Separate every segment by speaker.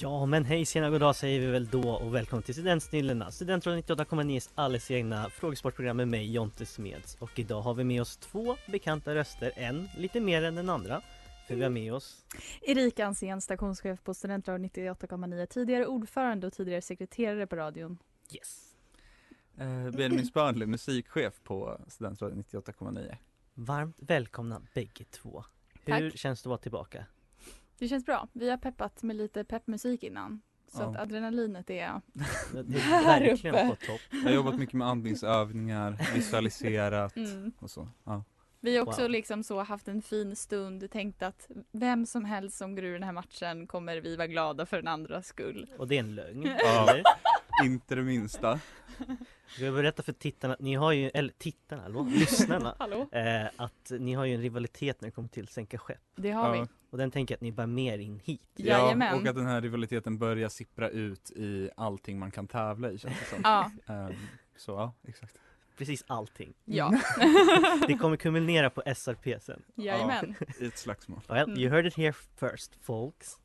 Speaker 1: Ja men hej, tjena, goddag säger vi väl då och välkommen till Studentsnillena Studentradion 98,9s alldeles egna frågesportprogram med mig Jonte Smeds och idag har vi med oss två bekanta röster, en lite mer än den andra för vi har med oss
Speaker 2: Erika Ansén, stationschef på Studentradion 98,9, tidigare ordförande och tidigare sekreterare på radion.
Speaker 1: Yes!
Speaker 3: Eh, Benjamin Spörnli, musikchef på Studentradion 98,9.
Speaker 1: Varmt välkomna bägge två! Hur
Speaker 2: Tack.
Speaker 1: känns det att vara tillbaka?
Speaker 2: Det känns bra. Vi har peppat med lite peppmusik innan. Så
Speaker 3: Ja.
Speaker 2: att adrenalinet är...
Speaker 1: Det är
Speaker 2: Här
Speaker 1: verkligen på
Speaker 2: uppe.
Speaker 1: topp!
Speaker 3: Jag har jobbat mycket med andningsövningar, visualiserat
Speaker 2: Mm.
Speaker 3: och så. Ja.
Speaker 2: Vi har också
Speaker 1: Wow.
Speaker 2: liksom så haft en fin stund, tänkt att vem som helst som går ur den här matchen kommer vi vara glada för den andras skull.
Speaker 1: Och det är en lögn,
Speaker 3: Ja.
Speaker 1: eller?
Speaker 3: Inte det minsta.
Speaker 1: Ska jag berätta för tittarna, att ni har ju, eller tittarna, hallå, lyssnarna
Speaker 2: Hallå?
Speaker 1: eh, Att ni har ju en rivalitet när det kommer till sänka skepp
Speaker 2: Det har
Speaker 3: Ja.
Speaker 2: vi.
Speaker 1: Och den tänker jag att ni bär med er in hit
Speaker 2: Jajamän.
Speaker 3: Ja, och att den här rivaliteten börjar sippra ut i allting man kan tävla i känns det som.
Speaker 2: Ja,
Speaker 3: Ehm, så ja, exakt.
Speaker 1: Precis allting
Speaker 2: ja,
Speaker 1: Det kommer kulminera på SRP sen
Speaker 2: jajamän.
Speaker 3: I ett slagsmål.
Speaker 1: Well,
Speaker 2: Mm.
Speaker 1: you heard it here first folks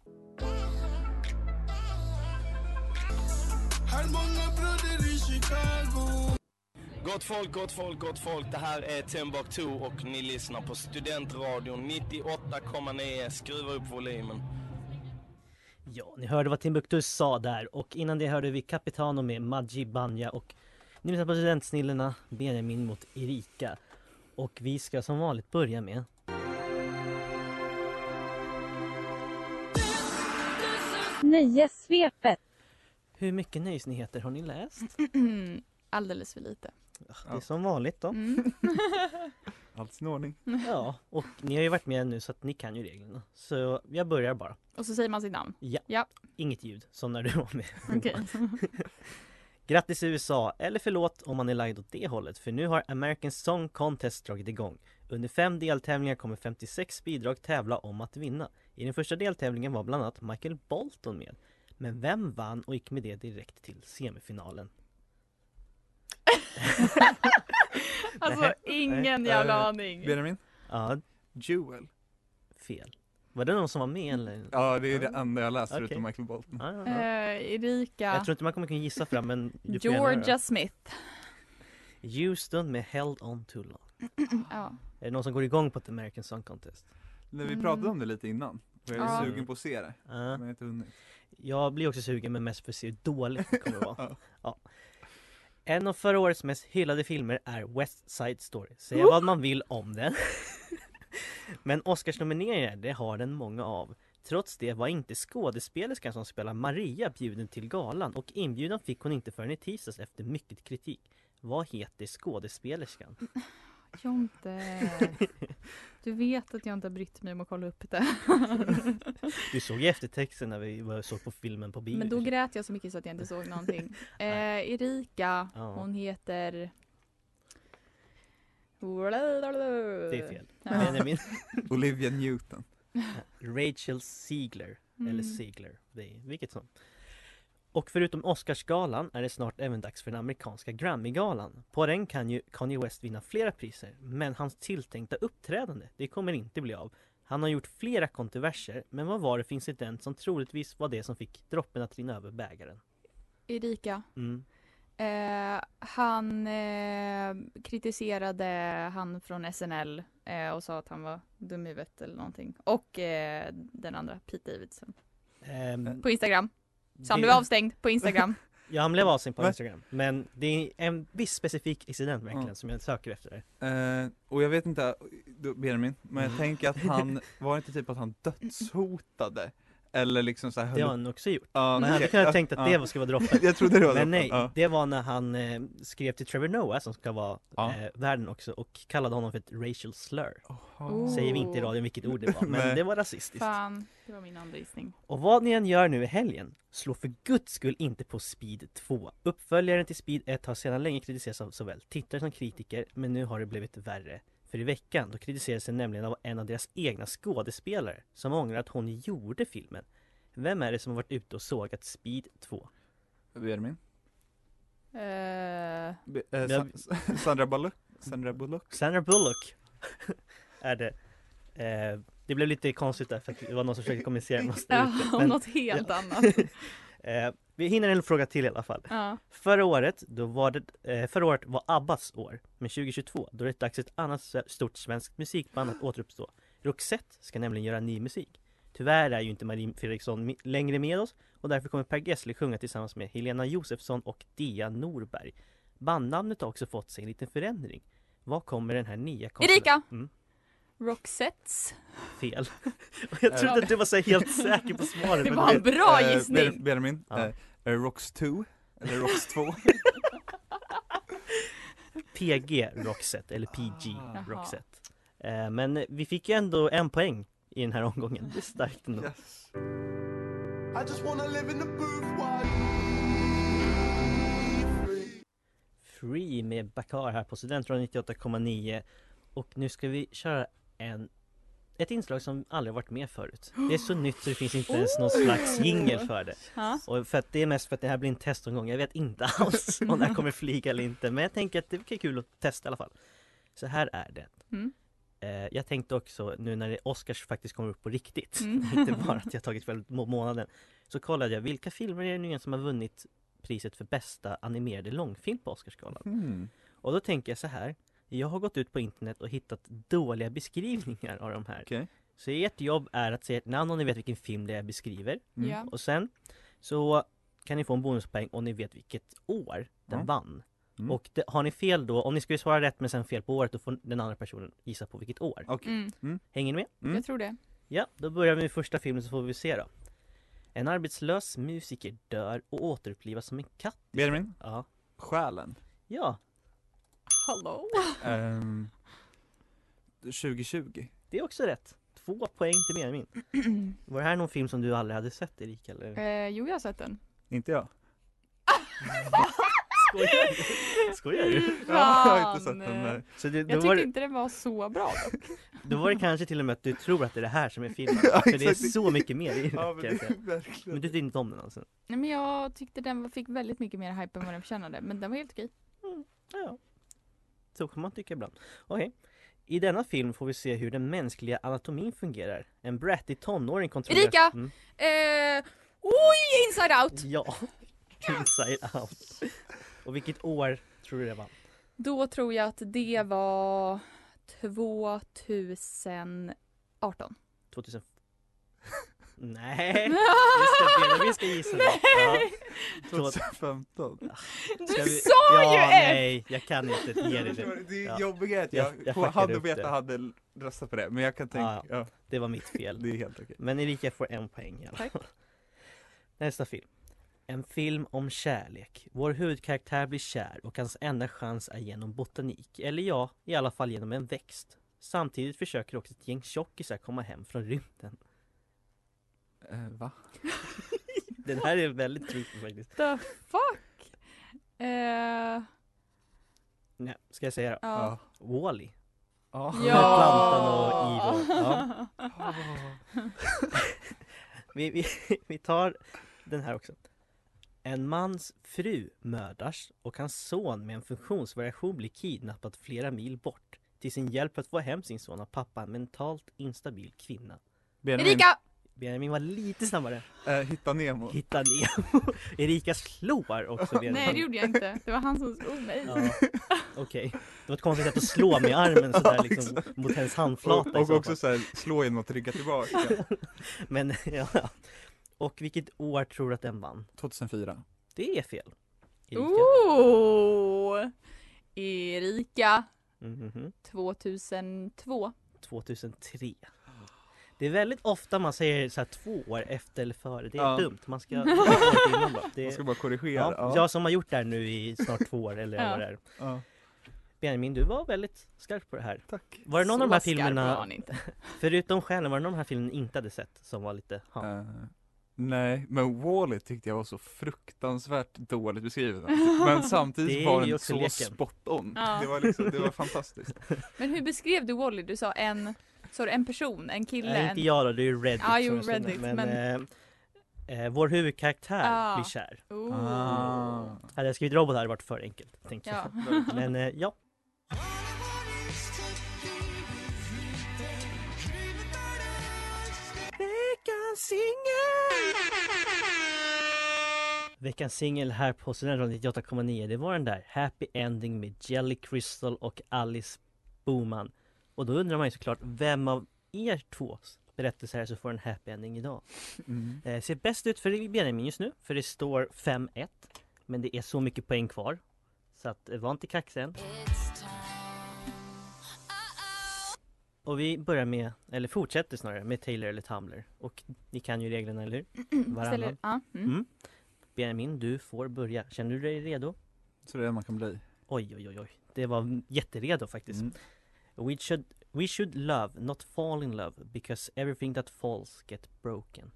Speaker 4: Gott folk, gott folk, gott folk. Det här är Timbuktu och ni lyssnar på Studentradion 98,9. Skruva upp volymen.
Speaker 1: Ja, ni hörde vad Timbuktu sa där och innan det hörde vi Capitano med Maji Banja och ni lyssnar på Studentsnillena, Benjamin mot Erika. Och vi ska som vanligt börja med
Speaker 5: Nöjessvepet.
Speaker 1: hur mycket nöjesnyheter har ni läst?
Speaker 2: Alldeles för lite.
Speaker 1: Det är som vanligt då.
Speaker 2: Mm.
Speaker 3: Allt sin ordning.
Speaker 1: Ja, och ni har ju varit med nu så att ni kan ju reglerna. Så jag börjar bara.
Speaker 2: Och så säger man sitt namn.
Speaker 1: Inget ljud, som när du var med.
Speaker 2: Okej.
Speaker 1: Grattis USA, eller förlåt om man är lagd åt det hållet, för nu har American Song Contest dragit igång. Under fem deltävlingar kommer 56 bidrag tävla om att vinna. I den första deltävlingen var bland annat Michael Bolton med. Men vem vann och gick med det direkt till semifinalen?
Speaker 2: Alltså
Speaker 1: Nej.
Speaker 2: ingen jävla
Speaker 3: Eh,
Speaker 2: aning.
Speaker 3: Benjamin?
Speaker 1: Ja,
Speaker 3: Jewel.
Speaker 1: fel. Var det någon som var med eller?
Speaker 3: Ja, det är det enda jag läst
Speaker 1: Okej.
Speaker 3: förutom Michael Bolton.
Speaker 1: Ja, ja, ja.
Speaker 2: Eh, Erika.
Speaker 1: Jag tror inte man kommer kunna gissa fram men du får gärna
Speaker 2: Georgia
Speaker 1: höra.
Speaker 2: Smith.
Speaker 1: Houston med Held On Too Long.
Speaker 2: Ja.
Speaker 1: Är det någon som går igång på ett American Song Contest?
Speaker 3: När vi
Speaker 2: Mm.
Speaker 3: pratade om det lite innan. för Jag är
Speaker 2: Ja.
Speaker 3: sugen på att se det,
Speaker 1: Ja.
Speaker 3: men jag har inte hunnit.
Speaker 1: Jag blir också sugen men mest för att se hur dåligt det kommer att vara.
Speaker 3: Ja.
Speaker 1: ja. En av förra årets mest hyllade filmer är West Side Story. Säga vad man vill om den. men Oscarsnomineringar, det har den många av. Trots det var inte skådespelerskan som spelar Maria bjuden till galan och inbjudan fick hon inte förrän i tisdags efter mycket kritik. Vad heter skådespelerskan?
Speaker 2: Jonte. Du vet att jag inte har brytt mig om att kolla upp det.
Speaker 1: Du såg ju eftertexten när vi var- såg på filmen på bio.
Speaker 2: Men då grät jag så mycket så att jag inte såg någonting. eh, Erika,
Speaker 1: Ja.
Speaker 2: hon heter...
Speaker 1: Det är fel.
Speaker 2: Ja.
Speaker 1: Benjamin.
Speaker 3: Olivia Newton.
Speaker 1: Rachel Ziegler.
Speaker 2: Mm.
Speaker 1: Eller Ziegler, det är vilket som. Och förutom Oscarsgalan är det snart även dags för den amerikanska Grammygalan. På den kan ju Kanye West vinna flera priser, men hans tilltänkta uppträdande, det kommer inte bli av. Han har gjort flera kontroverser, men vad var det för incident som troligtvis var det som fick droppen att rinna över bägaren?
Speaker 2: Erika,
Speaker 1: Mm.
Speaker 5: Eh, han eh, kritiserade han från SNL eh, och sa att han var dum i huvudet eller någonting. Och eh, den andra, Pete Davidson.
Speaker 3: Eh,
Speaker 1: Ehm,
Speaker 5: På Instagram. Så han
Speaker 1: det-
Speaker 5: blev avstängd på Instagram.
Speaker 1: Ja han blev avstängd på
Speaker 3: Va?
Speaker 1: Instagram men det är en viss specifik incident verkligen
Speaker 3: Ja.
Speaker 1: som jag söker efter
Speaker 3: Eh, och jag vet inte, då- Benjamin, men jag
Speaker 1: Mm.
Speaker 3: tänker att han, var det inte typ att han dödshotade? Eller liksom såhär
Speaker 1: Det har han också gjort
Speaker 3: Ja,
Speaker 1: Man
Speaker 3: okej.
Speaker 1: hade kunnat tänkt
Speaker 3: Ja.
Speaker 1: att det skulle vara droppen
Speaker 3: Jag trodde det var
Speaker 1: Men
Speaker 3: droppen.
Speaker 1: nej,
Speaker 3: Ja.
Speaker 1: det var när han eh, skrev till Trevor Noah som ska vara
Speaker 3: Ja.
Speaker 1: eh, värden också och kallade honom för ett racial slur
Speaker 3: Jaha.
Speaker 1: Säger vi inte i
Speaker 5: Oh.
Speaker 1: radion vilket ord det var, men
Speaker 3: Nej.
Speaker 1: det var rasistiskt
Speaker 5: Fan, det var min andra gissning.
Speaker 1: Och vad ni än gör nu i helgen, slå för guds skull inte på Speed 2. Uppföljaren till Speed 1 har sedan länge kritiserats av såväl tittare som kritiker, men nu har det blivit värre. För i veckan, då kritiserades den nämligen av en av deras egna skådespelare, som ångrar att hon gjorde filmen. Vem är det som har varit ute och sågat Speed 2?
Speaker 3: Benjamin?
Speaker 5: Eh,
Speaker 3: Be- eh,
Speaker 1: Jag-
Speaker 3: Sa- Sandra Bullock? Sandra Bullock?
Speaker 1: Sandra Bullock är det. Eh, det blev lite konstigt där för att det var någon som försökte kommunicera med oss där
Speaker 5: ja,
Speaker 1: ute,
Speaker 5: om
Speaker 1: men,
Speaker 5: något helt annat.
Speaker 1: eh, Vi hinner en fråga till i alla fall.
Speaker 5: Ja.
Speaker 1: Förra året, då var det, eh, förra året var Abbas år, men 2022 då är det dags för ett annat s- stort svenskt musikband att återuppstå. Roxette ska nämligen göra ny musik. Tyvärr är ju inte Marie Fredriksson mi- längre med oss och därför kommer Per Gessle sjunga tillsammans med Helena Josefsson och Dia Norberg. Bandnamnet har också fått sig en liten förändring. Vad kommer den här nya
Speaker 5: Erika!
Speaker 1: Mm,
Speaker 5: Roxettes.
Speaker 1: fel. Och jag trodde att du var så här helt säker på svaret.
Speaker 5: Det
Speaker 1: men
Speaker 5: var en bra
Speaker 3: Eh,
Speaker 5: gissning.
Speaker 3: Ben- Benjamin?
Speaker 1: Ja.
Speaker 3: Eh, eh, Rocks 2? Eller Rocks 2?
Speaker 1: PG Roxette eller PG
Speaker 3: Ah.
Speaker 1: Roxette. Eh, Men vi fick ju ändå en poäng i den här omgången. Det är starkt ändå.
Speaker 3: yes.
Speaker 1: Free med Bakar här på Studentradion 98,9 och nu ska vi köra en ett inslag som aldrig varit med förut. Det är så nytt så det finns inte ens någon slags jingel för det.
Speaker 5: Ja.
Speaker 1: Och för att det är mest för att det här blir en testomgång. Jag vet inte alls om det här kommer flyga eller inte. Men jag tänker att det blir kul att testa i alla fall. Så här är det.
Speaker 5: Mm.
Speaker 1: Eh, jag tänkte också nu när det är Oscars faktiskt kommer upp på riktigt.
Speaker 5: Mm.
Speaker 1: inte bara att jag tagit själv må- månaden. Så kollade jag vilka filmer är det nu igen som har vunnit priset för bästa animerade långfilm på Oscarsgalan.
Speaker 3: Mm.
Speaker 1: Och då tänker jag så här. Jag har gått ut på internet och hittat dåliga beskrivningar av de här.
Speaker 3: Okej.
Speaker 1: Så ert jobb är att säga ett namn om ni vet vilken film det är jag beskriver.
Speaker 3: Mm.
Speaker 5: Ja.
Speaker 1: Och sen så kan ni få en bonuspoäng om ni vet vilket år den
Speaker 3: Ja.
Speaker 1: vann.
Speaker 3: Mm.
Speaker 1: Och det, har ni fel då, om ni skulle svara rätt men sen fel på året, då får den andra personen gissa på vilket år.
Speaker 3: Okej.
Speaker 5: Mm,
Speaker 1: Hänger ni med?
Speaker 3: Mm.
Speaker 5: jag tror det.
Speaker 1: Ja, då börjar vi med första filmen så får vi se då. En arbetslös musiker dör och återupplivas som en katt.
Speaker 3: Benjamin?
Speaker 1: Ja.
Speaker 3: Själen?
Speaker 1: ja,
Speaker 5: Hallå?
Speaker 3: Ehm, 2020?
Speaker 1: det är också rätt. Två poäng till Benjamin. Var det här någon film som du aldrig hade sett Erika? Eller?
Speaker 5: Eh, jo, jag har sett den.
Speaker 3: Inte jag?
Speaker 1: Skojar du? Skojar du?
Speaker 3: jag har inte sett den.
Speaker 5: Fan.
Speaker 3: Nej.
Speaker 1: Så det, då, var,
Speaker 5: Jag tyckte
Speaker 1: det-
Speaker 5: inte den var så bra dock.
Speaker 1: då var det kanske till och med att du tror att det är det här som är filmen.
Speaker 3: Ja,
Speaker 1: för det är
Speaker 3: exakt.
Speaker 1: så mycket mer i den.
Speaker 3: Ja,
Speaker 1: kan
Speaker 3: men
Speaker 1: jag
Speaker 3: det,
Speaker 1: säga.
Speaker 3: verkligen.
Speaker 1: Men du tyckte inte om den alltså?
Speaker 5: Nej, men jag tyckte den var- fick väldigt mycket mer hype än vad den förtjänade. Men den var helt okej.
Speaker 1: Ja. Så kan man tycka ibland. Okej. I denna film får vi se hur den mänskliga anatomin fungerar. En brattig tonåring kontrollerar...
Speaker 5: Erika!
Speaker 1: Mm,
Speaker 5: Eh, oj, inside out!
Speaker 1: ja. Inside out. Och vilket år tror du det var?
Speaker 5: Då tror jag att det var 2018.
Speaker 1: 2000... Nej! Just det, Benjamin ska gissa Nej! Ja.
Speaker 3: 2015?
Speaker 5: Du
Speaker 1: Ska vi-
Speaker 5: sa ju
Speaker 1: ja,
Speaker 5: ett!
Speaker 1: nej, jag kan inte ge dig det.
Speaker 3: Det
Speaker 1: Ja.
Speaker 3: är jobbiga är att
Speaker 1: Jag-
Speaker 3: jag,
Speaker 1: jag
Speaker 3: på
Speaker 1: fuckade
Speaker 3: hand
Speaker 1: upp
Speaker 3: och
Speaker 1: det.
Speaker 3: veta hade l- röstat på det, men jag kan tänka,
Speaker 1: Ja,
Speaker 3: ja,
Speaker 1: Det var mitt fel.
Speaker 3: det är helt okej.
Speaker 1: Men Erika får en poäng i alla fall. Nästa film. En film om kärlek. Vår huvudkaraktär blir kär och hans enda chans är genom botanik. Eller ja, i alla fall genom en växt. Samtidigt försöker också ett gäng tjockisar komma hem från rymden.
Speaker 3: Eh, va?
Speaker 1: Den här är väldigt tricky faktiskt.
Speaker 5: The fuck? Eh,
Speaker 1: Nej, ska jag säga då?
Speaker 5: ja.
Speaker 1: Wall-E.
Speaker 3: Ja.
Speaker 5: Ja.
Speaker 1: Plantan och Ivo. Ja. Vi, vi, vi tar den här också. En mans fru mördas och hans son med en funktionsvariation blir kidnappad flera mil bort. Till sin hjälp att få hem sin son har pappa en mentalt instabil kvinna.
Speaker 3: Benjamin,
Speaker 5: Erika!
Speaker 1: Benjamin var lite snabbare.
Speaker 3: Eh, Hitta Nemo.
Speaker 1: Hitta Nemo. Erika slår också Benjamin.
Speaker 5: Nej det gjorde jag inte. Det var han som slog mig.
Speaker 1: Ja, Okej, det var ett konstigt sätt att slå med armen sådär
Speaker 3: Ja,
Speaker 1: liksom mot hennes handflata
Speaker 3: Och,
Speaker 1: i
Speaker 3: och
Speaker 1: så
Speaker 3: också
Speaker 1: fall.
Speaker 3: så här, slå genom att rygga tillbaka.
Speaker 1: Men ja. Och vilket år tror du att den vann?
Speaker 3: 2004.
Speaker 1: Det är fel. Erika.
Speaker 5: Oh! Erika
Speaker 1: Mhm.
Speaker 5: 2002.
Speaker 1: 2003. Det är väldigt ofta man säger så här två år efter eller före, det är
Speaker 3: Ja.
Speaker 1: dumt. Man ska... innan bara.
Speaker 3: Man
Speaker 1: Det...
Speaker 3: ska bara korrigera.
Speaker 1: Ja, jag som har gjort det här nu i snart två år eller
Speaker 5: Ja.
Speaker 1: vad det är.
Speaker 3: Ja.
Speaker 1: Benjamin, du var väldigt skarp på det här.
Speaker 3: Tack.
Speaker 1: Var det någon av de här filmerna,
Speaker 5: han inte.
Speaker 1: förutom Stjärnan, var det någon av de här filmerna ni inte hade sett som var lite, ja.
Speaker 3: Eh, nej, men Wall-E tyckte jag var så fruktansvärt dåligt beskrivet. Men
Speaker 1: Det är
Speaker 3: samtidigt var
Speaker 1: ju
Speaker 3: den
Speaker 1: också
Speaker 3: så
Speaker 1: leken.
Speaker 3: spot on.
Speaker 5: Ja.
Speaker 3: Det, var liksom, det var fantastiskt.
Speaker 5: Men hur beskrev du Wally? Du sa en, sa du en person, en kille,
Speaker 1: Nej,
Speaker 5: en...
Speaker 1: inte jag då, det är ju Reddit
Speaker 5: Ja,
Speaker 1: som
Speaker 5: jo,
Speaker 1: jag känner.
Speaker 5: Reddit,
Speaker 1: men, eh, eh, Vår huvudkaraktär
Speaker 5: Ja.
Speaker 1: blir kär.
Speaker 5: Oh.
Speaker 3: Ah.
Speaker 1: Hade jag skrivit robot hade det varit för enkelt. Tänkte
Speaker 5: Ja.
Speaker 1: jag. Men eh, ja, veckans singel här på Studentradion 98,9 det var den där Happy Ending med Jelly Crystal och Alice Boman. Och då undrar man ju såklart, vem av er två berättelser här så får en happy ending idag?
Speaker 3: Mm.
Speaker 1: Eh, ser bäst ut för Benjamin just nu, för det står 5-1. Men det är så mycket poäng kvar. Så att, eh, var inte kaxig än. Och vi börjar med, eller fortsätter snarare, med Taylor eller Tumblr. Och ni kan ju reglerna, eller hur? Varannan.
Speaker 5: Ställer- Ja, mm.
Speaker 1: Mm. Benjamin, du får börja. Känner du dig redo?
Speaker 3: Så det är det man kan bli.
Speaker 1: Oj, oj, oj, oj. Det var jätteredo faktiskt.
Speaker 3: Mm.
Speaker 1: We should, we should love, not fall in love, because everything that falls get broken.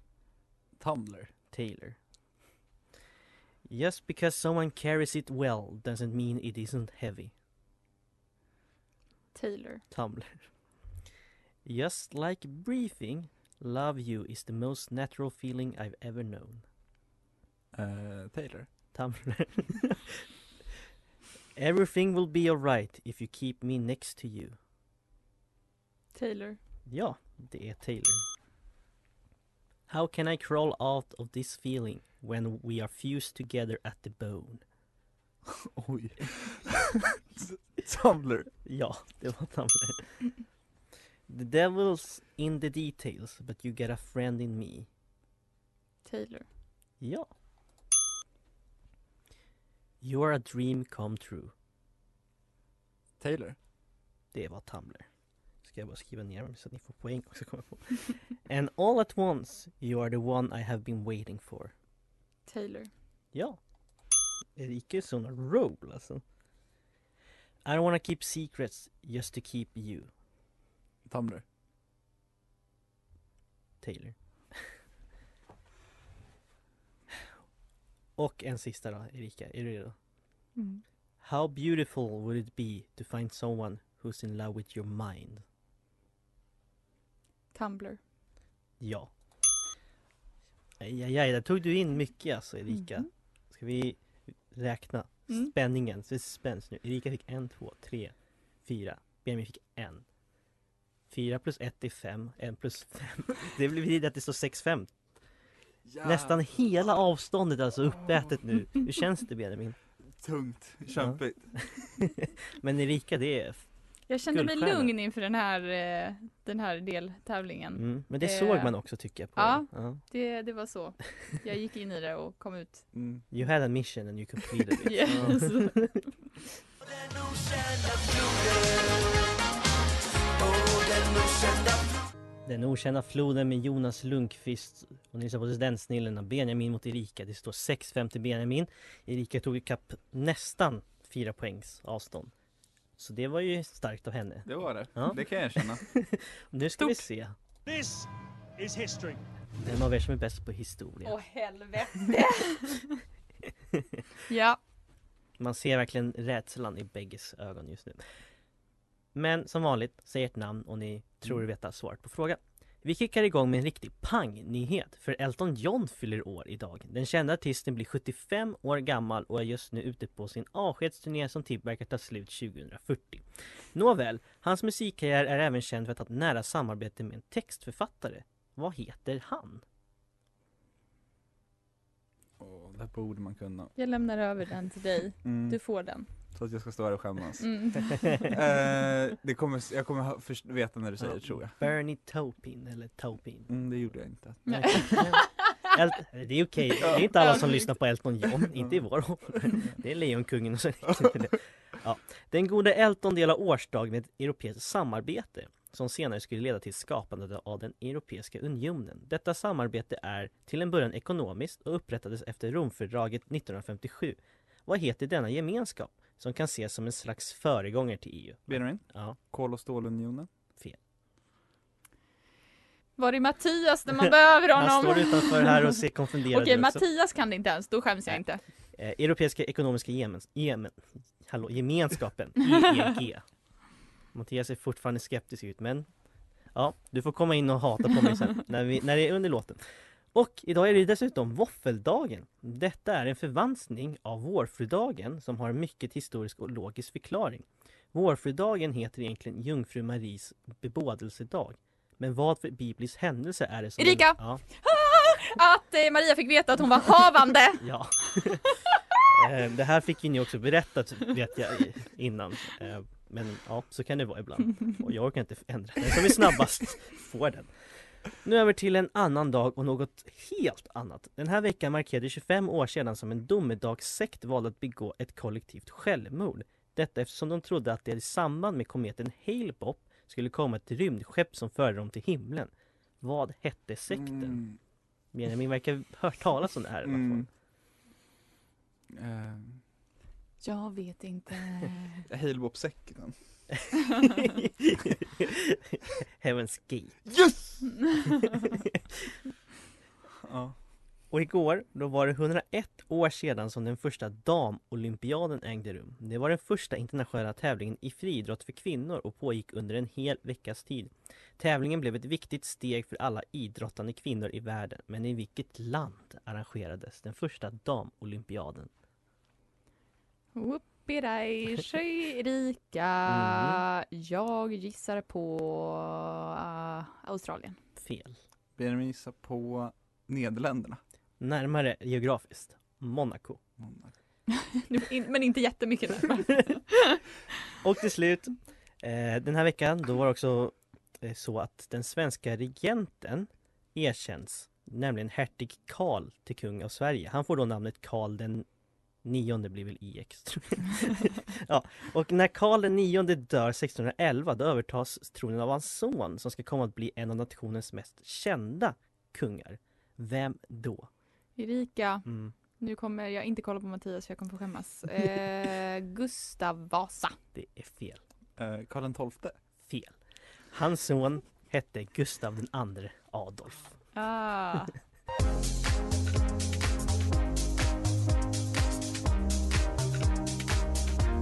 Speaker 3: Tumblr.
Speaker 1: Taylor. Just because someone carries it well doesn't mean it isn't heavy.
Speaker 5: Taylor.
Speaker 1: Tumblr. Just like breathing, love you is the most natural feeling I've ever known.
Speaker 3: Eh, Taylor.
Speaker 1: Tumblr. Everything will be alright if you keep me next to you.
Speaker 5: Taylor.
Speaker 1: Ja, det är Taylor. How can I crawl out of this feeling when we are fused together at the bone?
Speaker 3: Oj. Tumblr.
Speaker 1: Ja, det var Tumblr. The devil's in the details, but you get a friend in me.
Speaker 5: Taylor.
Speaker 1: Ja. You are a dream come true.
Speaker 3: Taylor.
Speaker 1: Det var Tumblr. Ska jag bara skriva ner dem så att ni får poäng också kommer jag på. And all at once, you are the one I have been waiting for.
Speaker 5: Taylor.
Speaker 1: Ja. Erika är sån roll alltså. I don't wanna keep secrets just to keep you,
Speaker 3: Tumblr.
Speaker 1: Taylor. Och en sista då, Erika. Är du redo?
Speaker 5: Mm.
Speaker 1: How beautiful would it be to find someone who's in love with your mind?
Speaker 5: Tumblr.
Speaker 1: Ja. Ajajaj, där tog du in mycket alltså Erika.
Speaker 5: Mhm.
Speaker 1: Ska vi räkna
Speaker 5: Mm.
Speaker 1: spänningen? Så det spänns nu. Erika fick en, två, tre, fyra. Benjamin fick en. Fyra plus ett är fem, en plus fem. Det blir att det står sex, fem. Nästan hela avståndet alltså uppätet nu. Hur känns det Benjamin?
Speaker 3: Tungt. Kämpigt.
Speaker 1: Men Erika det är...
Speaker 5: Jag kände mig
Speaker 1: Guldstjärna.
Speaker 5: lugn inför den här, eh, den här deltävlingen.
Speaker 1: Mm. Men det
Speaker 5: Eh,
Speaker 1: såg man också tycker jag på
Speaker 5: ja.
Speaker 1: ja.
Speaker 5: Det, det var så. Jag gick in i det och kom ut.
Speaker 3: Mm.
Speaker 1: You had a mission and you completed it.
Speaker 5: Yes.
Speaker 1: Den okända floden med Jonas Lundqvist och ni lyssnar på Studentsnillena Benjamin mot Erika. Det står 6-5 till Benjamin. Erika tog ikapp nästan 4 poängs avstånd. Så det var ju starkt av henne.
Speaker 3: Det var det.
Speaker 1: Ja.
Speaker 3: Det kan jag erkänna.
Speaker 1: Nu ska vi se
Speaker 6: This is history.
Speaker 1: vem av er som är bäst på historia.
Speaker 5: Åh helvete! ja,
Speaker 1: Man ser verkligen rädslan i bägges ögon just nu. Men som vanligt, säg ert namn och ni
Speaker 3: Mm.
Speaker 1: tror er veta svaret på frågan. Vi kickar igång med en riktig pangnyhet, för Elton John fyller år idag. Den kända artisten blir 75 år gammal och är just nu ute på sin avskedsturné som typ verkar ta slut 2040. Nåväl, hans musikkarriär är även känd för att ha ett nära samarbete med en textförfattare, Vad heter han?
Speaker 3: Åh, det här borde man kunna.
Speaker 5: Jag lämnar över den till dig.
Speaker 3: Mm.
Speaker 5: Du får den.
Speaker 3: Så att jag ska stå här och skämmas.
Speaker 5: Mm.
Speaker 3: Eh, det kommer, jag kommer ha, först, veta när du säger det, tror jag.
Speaker 1: Bernie Taupin eller Taupin.
Speaker 3: Mm, det gjorde jag inte.
Speaker 1: Nej. Elt, det är okej, det är inte alla som lyssnar på Elton John, inte i vår ålder. Det är Lejonkungen och sen inte det. Ja. Den gode Elton delar årsdag med ett europeiskt samarbete som senare skulle leda till skapandet av den Europeiska unionen. Detta samarbete är till en början ekonomiskt och upprättades efter Romfördraget 1957. Vad heter denna gemenskap som kan ses som en slags föregångare till E EU?
Speaker 3: Benjamin?
Speaker 1: Ja,
Speaker 3: Kol och stålunionen?
Speaker 5: Var är Mattias när man behöver
Speaker 1: han
Speaker 5: honom?
Speaker 1: står utanför här och ser konfunderad
Speaker 5: Okej,
Speaker 1: ut också.
Speaker 5: Mattias kan det inte ens, då skäms jag inte.
Speaker 1: Eh, Europeiska ekonomiska gemen, gemen, hallå, gemenskapen, EEG. Mattias ser fortfarande skeptisk ut men ja, du får komma in och hata på mig sen när, vi, när det är under låten. Och idag är det dessutom våffeldagen. Detta är en förvanskning av vårfrudagen som har mycket historisk och logisk förklaring. Vårfrudagen heter egentligen Jungfru Maries bebådelsedag. Men vad för biblisk händelse är det som...
Speaker 5: Erika!
Speaker 1: Ja,
Speaker 5: Att eh, Maria fick veta att hon var havande!
Speaker 1: Ja. Eh, det här fick ju ni också berättat vet jag i- innan. Eh, Men ja, så kan det vara ibland. Och jag orkar inte ändra den som är snabbast får den. Nu över till en annan dag och något helt annat. Den här veckan markerade 25 år sedan som en domedagssekt valde att begå ett kollektivt självmord. Detta eftersom de trodde att det i samband med kometen Hale-Bopp skulle komma ett rymdskepp som förde dem till himlen. Vad hette sekten?
Speaker 3: Mm.
Speaker 1: Benjamin verkar ha hört talas om det här i alla fall.
Speaker 3: Mm. Eh,
Speaker 5: Jag vet inte.
Speaker 3: Halebop-sekten.
Speaker 1: Heaven's Gate.
Speaker 3: Yes! ja.
Speaker 1: Och igår, då var det 101 år sedan som den första damolympiaden ägde rum. Det var den första internationella tävlingen i friidrott för kvinnor och pågick under en hel veckas tid. Tävlingen blev ett viktigt steg för alla idrottande kvinnor i världen. Men i vilket land arrangerades den första damolympiaden?
Speaker 5: Whoopidaj, Erika.
Speaker 1: Mm.
Speaker 5: Jag gissar på eh, Australien.
Speaker 1: Fel.
Speaker 3: Benjamin gissar på Nederländerna.
Speaker 1: Närmare geografiskt, Monaco.
Speaker 5: In- Men inte jättemycket närmare.
Speaker 1: Och till slut, eh, den här veckan då var det också eh, så att den svenska regenten erkänns, nämligen hertig Karl till kung av Sverige. Han får då namnet Karl den nionde blir väl IX tror jag. ja, och när Karl den nionde dör 1611 då övertas tronen av hans son som ska komma att bli en av nationens mest kända kungar. Vem då?
Speaker 5: Erika,
Speaker 1: Mm,
Speaker 5: nu kommer jag inte kolla på Mattias för jag kommer få skämmas. Eh, Gustav Vasa.
Speaker 1: det är fel.
Speaker 3: Eh, Karl XII.
Speaker 1: Fel. Hans son hette Gustav den andre Adolf.
Speaker 5: Ah.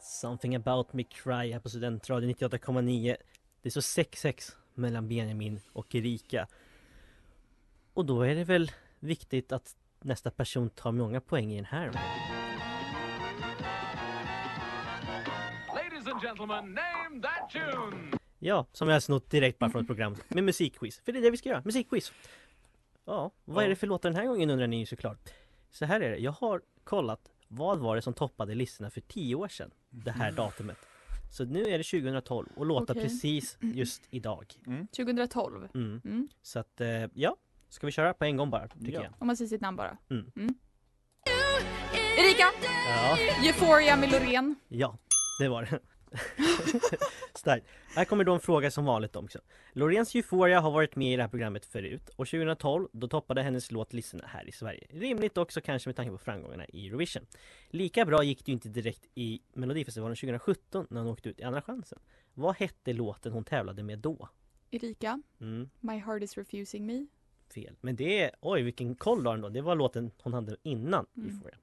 Speaker 1: Something about me cry här på Studentradion 98,9 Det står 6-6 mellan Benjamin och Erika Och då är det väl viktigt att nästa person tar många poäng i den här
Speaker 7: Ladies and gentlemen, name that tune!
Speaker 1: Ja, som jag har snott direkt bara från ett program med musikquiz För det är det vi ska göra, musikquiz! Ja, vad är det för låtar den här gången undrar ni ju såklart Så här är det, jag har kollat Vad var det som toppade listorna för 10 år sedan? Det här datumet Så nu är det 2012 och låtar
Speaker 5: Okej.
Speaker 1: precis just idag
Speaker 5: 2012.
Speaker 1: mm.
Speaker 5: Mm.
Speaker 1: Så att, eh, ja. Ska vi köra på en gång bara, tycker
Speaker 3: Ja.
Speaker 1: jag.
Speaker 5: Om man säger sitt namn bara.
Speaker 1: Mm.
Speaker 5: Erika!
Speaker 1: Ja,
Speaker 5: Euphoria med Loreen.
Speaker 1: ja, det var det. Starkt. Här kommer då en fråga som vanligt också. Loreens Euphoria har varit med i det här programmet förut och 2012 då toppade hennes låt listorna här i Sverige. Rimligt också kanske med tanke på framgångarna i Eurovision. Lika bra gick det ju inte direkt i Melodifestivalen 2017 när hon åkte ut i Andra chansen. Vad hette låten hon tävlade med då?
Speaker 5: Erika,
Speaker 1: Mm,
Speaker 5: My heart is refusing me.
Speaker 1: fel. Men det är, oj vilken koll du har ändå. Det var låten hon hade innan
Speaker 5: Mm.
Speaker 1: Euphoria.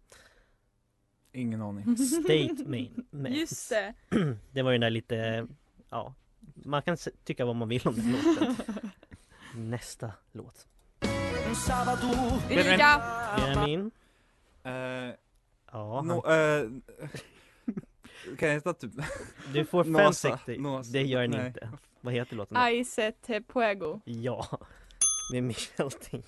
Speaker 3: Ingen aning.
Speaker 1: State Main. Main.
Speaker 5: Just det.
Speaker 1: Det var ju den där lite, ja, man kan se- tycka vad man vill om den låten. Nästa låt.
Speaker 5: Erika!
Speaker 1: Benjamin.
Speaker 3: Eh,
Speaker 1: Ja, han,
Speaker 3: nå- eh, kan jag heta typ...
Speaker 1: du får fem
Speaker 3: Nasa,
Speaker 1: sekter.
Speaker 3: Nasa.
Speaker 1: Det gör den
Speaker 3: Nej.
Speaker 1: inte. Vad heter låten? då?
Speaker 5: I set Puego.
Speaker 1: Ja. med Michel Teo.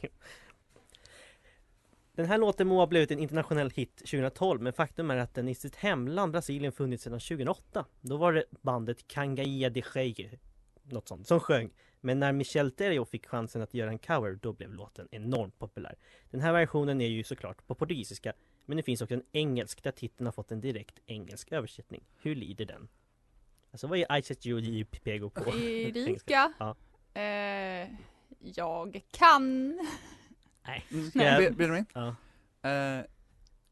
Speaker 1: Den här låten må ha blivit en internationell hit 2012 men faktum är att den i sitt hemland Brasilien funnits sedan 2008. Då var det bandet Cangaia de Cheio, något sånt, som sjöng. Men när Michel Teo fick chansen att göra en cover då blev låten enormt populär. Den här versionen är ju såklart på portugisiska men det finns också en engelsk där titeln har fått en direkt engelsk översättning. Hur lyder den? Alltså vad är I set you, you pego på? engelska?
Speaker 5: Erika.
Speaker 1: Ja.
Speaker 5: Eh, jag kan.
Speaker 1: Nej. Ska jag-
Speaker 3: Mm. Be- Benjamin?
Speaker 1: Ja.
Speaker 3: Eh,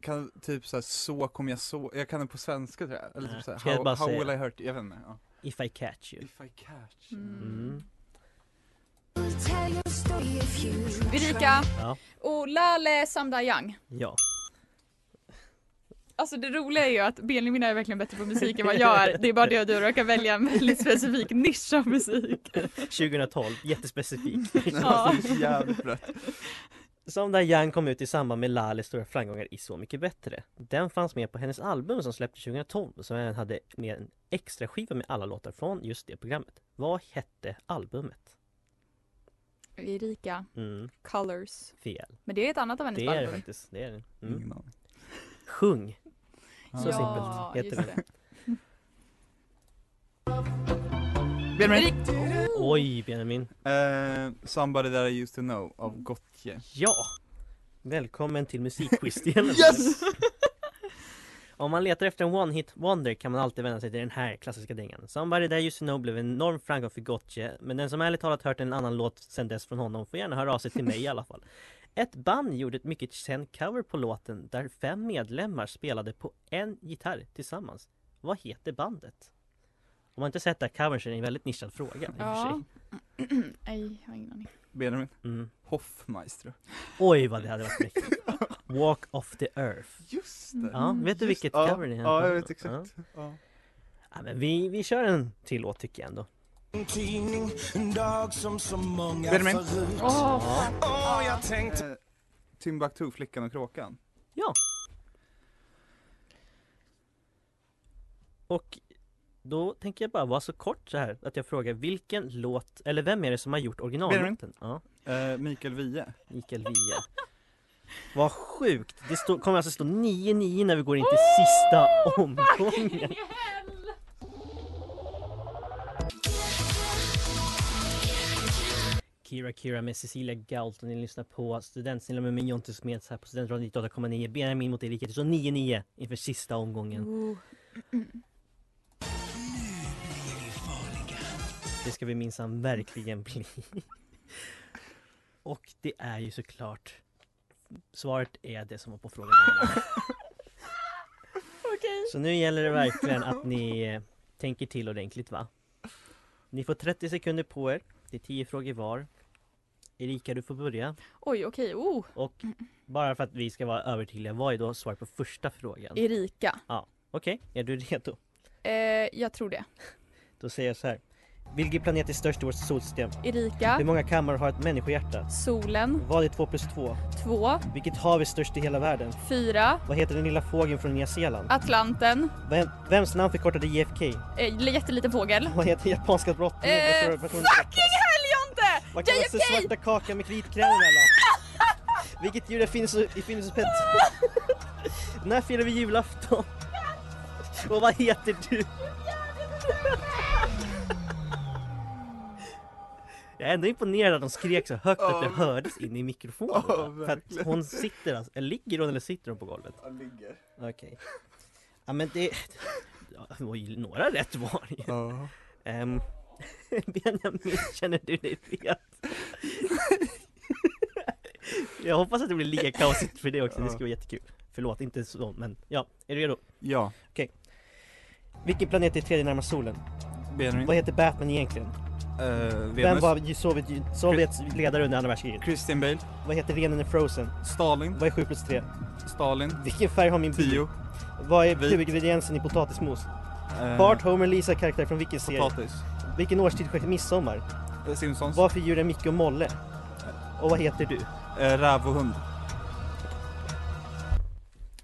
Speaker 3: kan typ såhär, så kommer jag så, jag kan den på svenska tror jag, eller
Speaker 1: Ja.
Speaker 3: typ såhär,
Speaker 1: Ska jag
Speaker 3: how,
Speaker 1: bara
Speaker 3: how
Speaker 1: säga?
Speaker 3: will I hurt, jag vet inte. Ja.
Speaker 1: If I catch you.
Speaker 3: If I catch.
Speaker 1: Mm.
Speaker 5: Erika. oh,
Speaker 1: Ja.
Speaker 5: Olale Samda Young.
Speaker 1: Ja.
Speaker 5: Alltså det roliga är ju att Benjamin är verkligen bättre på musik än vad jag är. Det är bara det att du råkar välja en väldigt specifik nisch av musik.
Speaker 1: 2012, jättespecifik.
Speaker 3: Alltså,
Speaker 5: Ja.
Speaker 3: Jävligt blött.
Speaker 1: Som där Yang kom ut i samband med Lales stora framgångar i Så mycket bättre. Den fanns med på hennes album som släpptes 2012 som även hade med en extra skiva med alla låtar från just det programmet. Vad hette albumet?
Speaker 5: Erika.
Speaker 1: Mm,
Speaker 5: Colors.
Speaker 1: fel.
Speaker 5: Men det är ett annat av hennes
Speaker 1: Det är det
Speaker 5: album.
Speaker 1: faktiskt. Det är det. Mm.
Speaker 3: Ingen aning.
Speaker 1: Sjung! Så
Speaker 5: Ja,
Speaker 1: simpelt heter
Speaker 5: just det.
Speaker 3: Benjamin!
Speaker 1: Oj Benjamin!
Speaker 3: Eh, somebody that I used to know
Speaker 1: Mm.
Speaker 3: av Gottje.
Speaker 1: Ja! Välkommen till musikquizdelen!
Speaker 3: Yes!
Speaker 1: Om man letar efter en one hit wonder kan man alltid vända sig till den här klassiska dängan. Somebody That You Should Know blev en enorm framgång för Gotye, men den som ärligt talat hört en annan låt sen dess från honom får gärna höra av sig till mig i alla fall. Ett band gjorde ett mycket känd cover på låten där fem medlemmar spelade på en gitarr tillsammans. Vad heter bandet? Om man inte sett den här covern så är det en väldigt nischad fråga i och för
Speaker 5: Ja.
Speaker 1: sig.
Speaker 5: Nej, jag har ingen aning.
Speaker 3: Benjamin.
Speaker 1: Mm.
Speaker 3: Hoffmeister.
Speaker 1: Oj vad det hade varit mäktigt! Walk of the Earth.
Speaker 3: Just det.
Speaker 1: Ja, vet du
Speaker 3: Just-
Speaker 1: vilket
Speaker 3: ja,
Speaker 1: cover det är?
Speaker 3: Ja, jag vet
Speaker 1: Ja.
Speaker 3: exakt. Ja.
Speaker 1: Ja, men vi, vi kör en till låt tycker jag ändå.
Speaker 4: En tidning, en dag som så många
Speaker 3: Benjamin.
Speaker 4: förut.
Speaker 1: Ja.
Speaker 4: Åh, jag tänkte...
Speaker 3: Eh, Timbuktu, Flickan och Kråkan.
Speaker 1: Ja. Och då tänker jag bara vara så kort så här att jag frågar vilken låt, eller vem är det som har gjort originallåten? Ja,
Speaker 3: Eh, Mikael Wiehe.
Speaker 1: Mikael Wiehe. Vad sjukt! Det stå, kommer alltså stå 9-9 när vi går in till sista omgången. Kira Kira med Cecilia Gault och ni lyssnar på Studentsnillan med mig Jonte Smeds här på Studentradion 98,9 Benjamin mot Erika, det står 9-9 inför sista omgången.
Speaker 5: Uh.
Speaker 1: Det ska vi minsann verkligen bli. Och det är ju såklart Svaret är det som var på frågan innan. Så nu gäller det verkligen att ni eh, tänker till ordentligt va? Ni får 30 sekunder på er. Det är 10 frågor var. Erika du får börja.
Speaker 5: Oj, okej. Oh.
Speaker 1: Och bara för att vi ska vara övertydliga, vad är då svaret på första frågan? Okej,
Speaker 5: Erika.
Speaker 1: är du redo?
Speaker 5: Eh, jag tror det.
Speaker 1: Då säger jag så här. Vilken planet är störst i vårt solsystem? Hur
Speaker 5: Erika.
Speaker 1: många kammare har ett människohjärta?
Speaker 5: Solen.
Speaker 1: Vad är 2 plus 2?
Speaker 5: Två.
Speaker 1: Vilket hav är störst i hela världen?
Speaker 5: Fyra.
Speaker 1: Vad heter den lilla fågeln från Nya Zeeland?
Speaker 5: Atlanten.
Speaker 1: Vem, vems namn förkortade JFK?
Speaker 5: Eh, jätteliten fågel.
Speaker 1: Vad heter japanska brott?
Speaker 5: Eh, fucking hell
Speaker 1: Vad
Speaker 5: Jonte!
Speaker 1: kallas den
Speaker 5: JFK!
Speaker 1: svarta kakan med kritkrämen alla? Vilket djur är finns i Finns pet? När firar vi julafton? Och vad heter du? Jag är ändå imponerad att de skrek så högt att det
Speaker 3: Ja.
Speaker 1: hördes in i mikrofonen.
Speaker 3: Ja,
Speaker 1: för att
Speaker 3: verkligen.
Speaker 1: hon sitter alltså, eller ligger hon eller sitter hon på golvet?
Speaker 3: Han ligger.
Speaker 1: Okej. Ja men det... Ja, det var ju några rätt var det ju.
Speaker 3: Ja.
Speaker 1: Ehm, Benjamin, känner du dig fet? Jag hoppas att det blir lika kaosigt för det också, det skulle vara jättekul Förlåt, inte så, men ja, är du redo?
Speaker 3: Ja,
Speaker 1: Vilken planet är tredje närmast solen?
Speaker 3: Benjamin.
Speaker 1: Vad heter Batman egentligen?
Speaker 3: Eh,
Speaker 1: Vem
Speaker 3: Venus.
Speaker 1: var ju Sovjet, Sovjets ledare under andra världskriget?
Speaker 3: Christian Bale.
Speaker 1: Vad heter renen i Frozen?
Speaker 3: Stalin.
Speaker 1: Vad är 7 plus 3?
Speaker 3: Stalin.
Speaker 1: Vilken färg har min bil?
Speaker 3: 10.
Speaker 1: Vad är
Speaker 3: Vit.
Speaker 1: huvudingrediensen i potatismos?
Speaker 3: Eh,
Speaker 1: Bart, Homer, Lisa karaktär från vilken serie?
Speaker 3: Potatis.
Speaker 1: Vilken årstid sker midsommar?
Speaker 3: Eh, Simpsons.
Speaker 1: Vad för djur är Micke och Molle? Och vad heter du?
Speaker 3: Eh, räv och hund.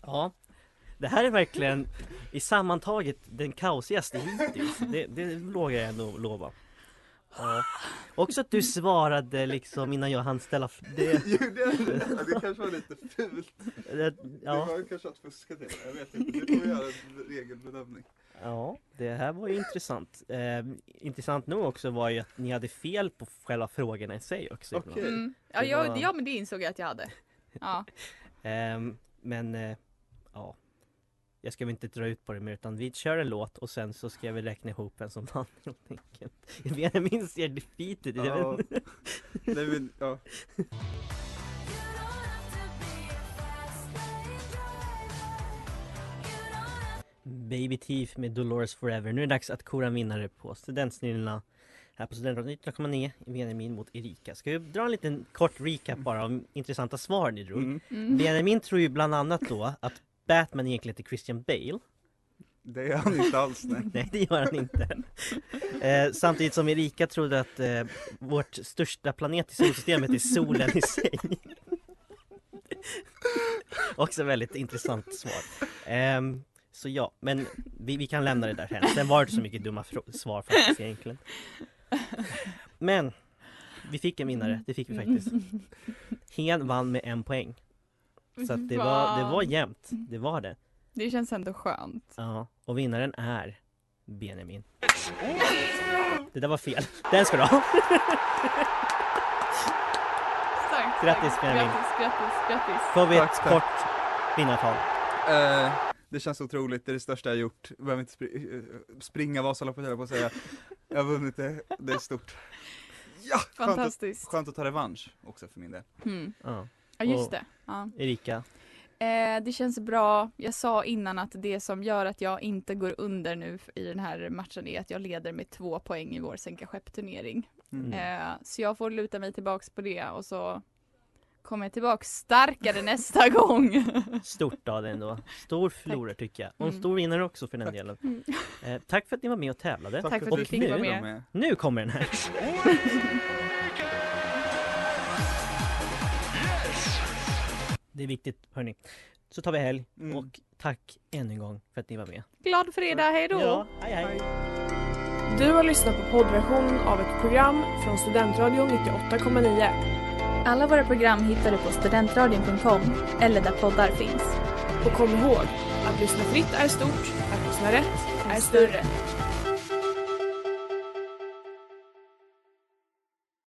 Speaker 1: Ja Det här är verkligen i sammantaget den kaosigaste hittills Det, det vågar jag ändå lova Ja. Också att du svarade liksom innan jag hann ställa... f- Det,
Speaker 8: Jo, det, ja, det kanske var lite fult.
Speaker 1: det,
Speaker 8: Det
Speaker 1: ja.
Speaker 8: var kanske att fuska till. Jag vet inte. Det får vi göra en regelbedömning.
Speaker 1: ja, det här var ju intressant. Eh, intressant nog också var ju att ni hade fel på själva frågorna i sig också.
Speaker 8: Okej.
Speaker 5: Mm. Ja,
Speaker 1: Det
Speaker 5: jag,
Speaker 1: var-
Speaker 5: ja, men det insåg jag att jag hade. Ja.
Speaker 1: Ehm, men eh, ja, jag ska väl inte dra ut på det mer utan vi kör en låt och sen så ska vi räkna ihop vem som vann helt enkelt. Jag minns er defeated.
Speaker 8: Ja.
Speaker 1: Ja.
Speaker 8: Nej, men, ja.
Speaker 1: Baby Teeth med Dolores Forever. Nu är det dags att kora en vinnare på Studentsnillena här på Studentradion 19,9. Benjamin mot Erika. Ska vi dra en liten kort recap bara om intressanta svar ni drog?
Speaker 8: Mm.
Speaker 5: Mm.
Speaker 1: Benjamin tror ju bland annat då att Batman egentligen heter Christian Bale.
Speaker 8: Det är han inte alls. Nej.
Speaker 1: Nej det gör han inte. Eh, samtidigt som Erika trodde att eh, vårt största planet i solsystemet är solen i sig. Också väldigt intressant svar. Ehm, så ja, men vi, vi kan lämna det där sen. Sen var det inte så mycket dumma frå- svar faktiskt egentligen. Men vi fick en vinnare, det fick vi faktiskt. Hen vann med en poäng. Så att det, var, det var jämnt, det var det.
Speaker 5: Det känns ändå skönt.
Speaker 1: Ja, och vinnaren är Benjamin. Det där var fel. Den ska du ha.
Speaker 5: Starkt.
Speaker 1: Grattis, Benjamin.
Speaker 5: Grattis, grattis, grattis.
Speaker 1: Får vi ett
Speaker 8: Tack, tack.
Speaker 1: kort vinnartal.
Speaker 8: Eh, det känns otroligt, det är det största jag gjort. Jag behöver inte spri- eh, springa Vasaloppet höll jag på att säga. Jag har vunnit det, det är stort. Ja, skönt att,
Speaker 5: Fantastiskt.
Speaker 8: skönt att ta revansch också för min del.
Speaker 5: Mm.
Speaker 1: Ja.
Speaker 5: Ja, just
Speaker 1: Och-
Speaker 5: det. Ja.
Speaker 1: Erika.
Speaker 5: Eh, det känns bra. Jag sa innan att det som gör att jag inte går under nu f- i den här matchen är att jag leder med två poäng i vår sänka skepp-turnering.
Speaker 1: Mm.
Speaker 5: Eh, så jag får luta mig tillbaks på det och så kommer jag tillbaks starkare nästa gång.
Speaker 1: Stort av dig ändå. Stor förlorare tycker jag. Och en
Speaker 5: Mm.
Speaker 1: stor vinnare också för den
Speaker 8: Tack.
Speaker 1: delen.
Speaker 5: Mm.
Speaker 1: Eh, tack för att ni var med och tävlade.
Speaker 5: Tack för
Speaker 1: Och
Speaker 5: att vi fick
Speaker 1: nu
Speaker 5: vara
Speaker 1: då?
Speaker 5: med.
Speaker 1: Nu kommer den här. Det är viktigt hörni. Så tar vi helg
Speaker 8: Mm.
Speaker 1: och tack ännu en gång för att ni var med.
Speaker 5: Glad fredag, hej då!
Speaker 1: Ja, hej hej.
Speaker 9: Du har lyssnat på poddversionen av ett program från Studentradion 98,9.
Speaker 2: Alla våra program hittar du på studentradion.com eller där poddar finns.
Speaker 9: Och kom ihåg, att lyssna fritt är stort, att lyssna rätt är större.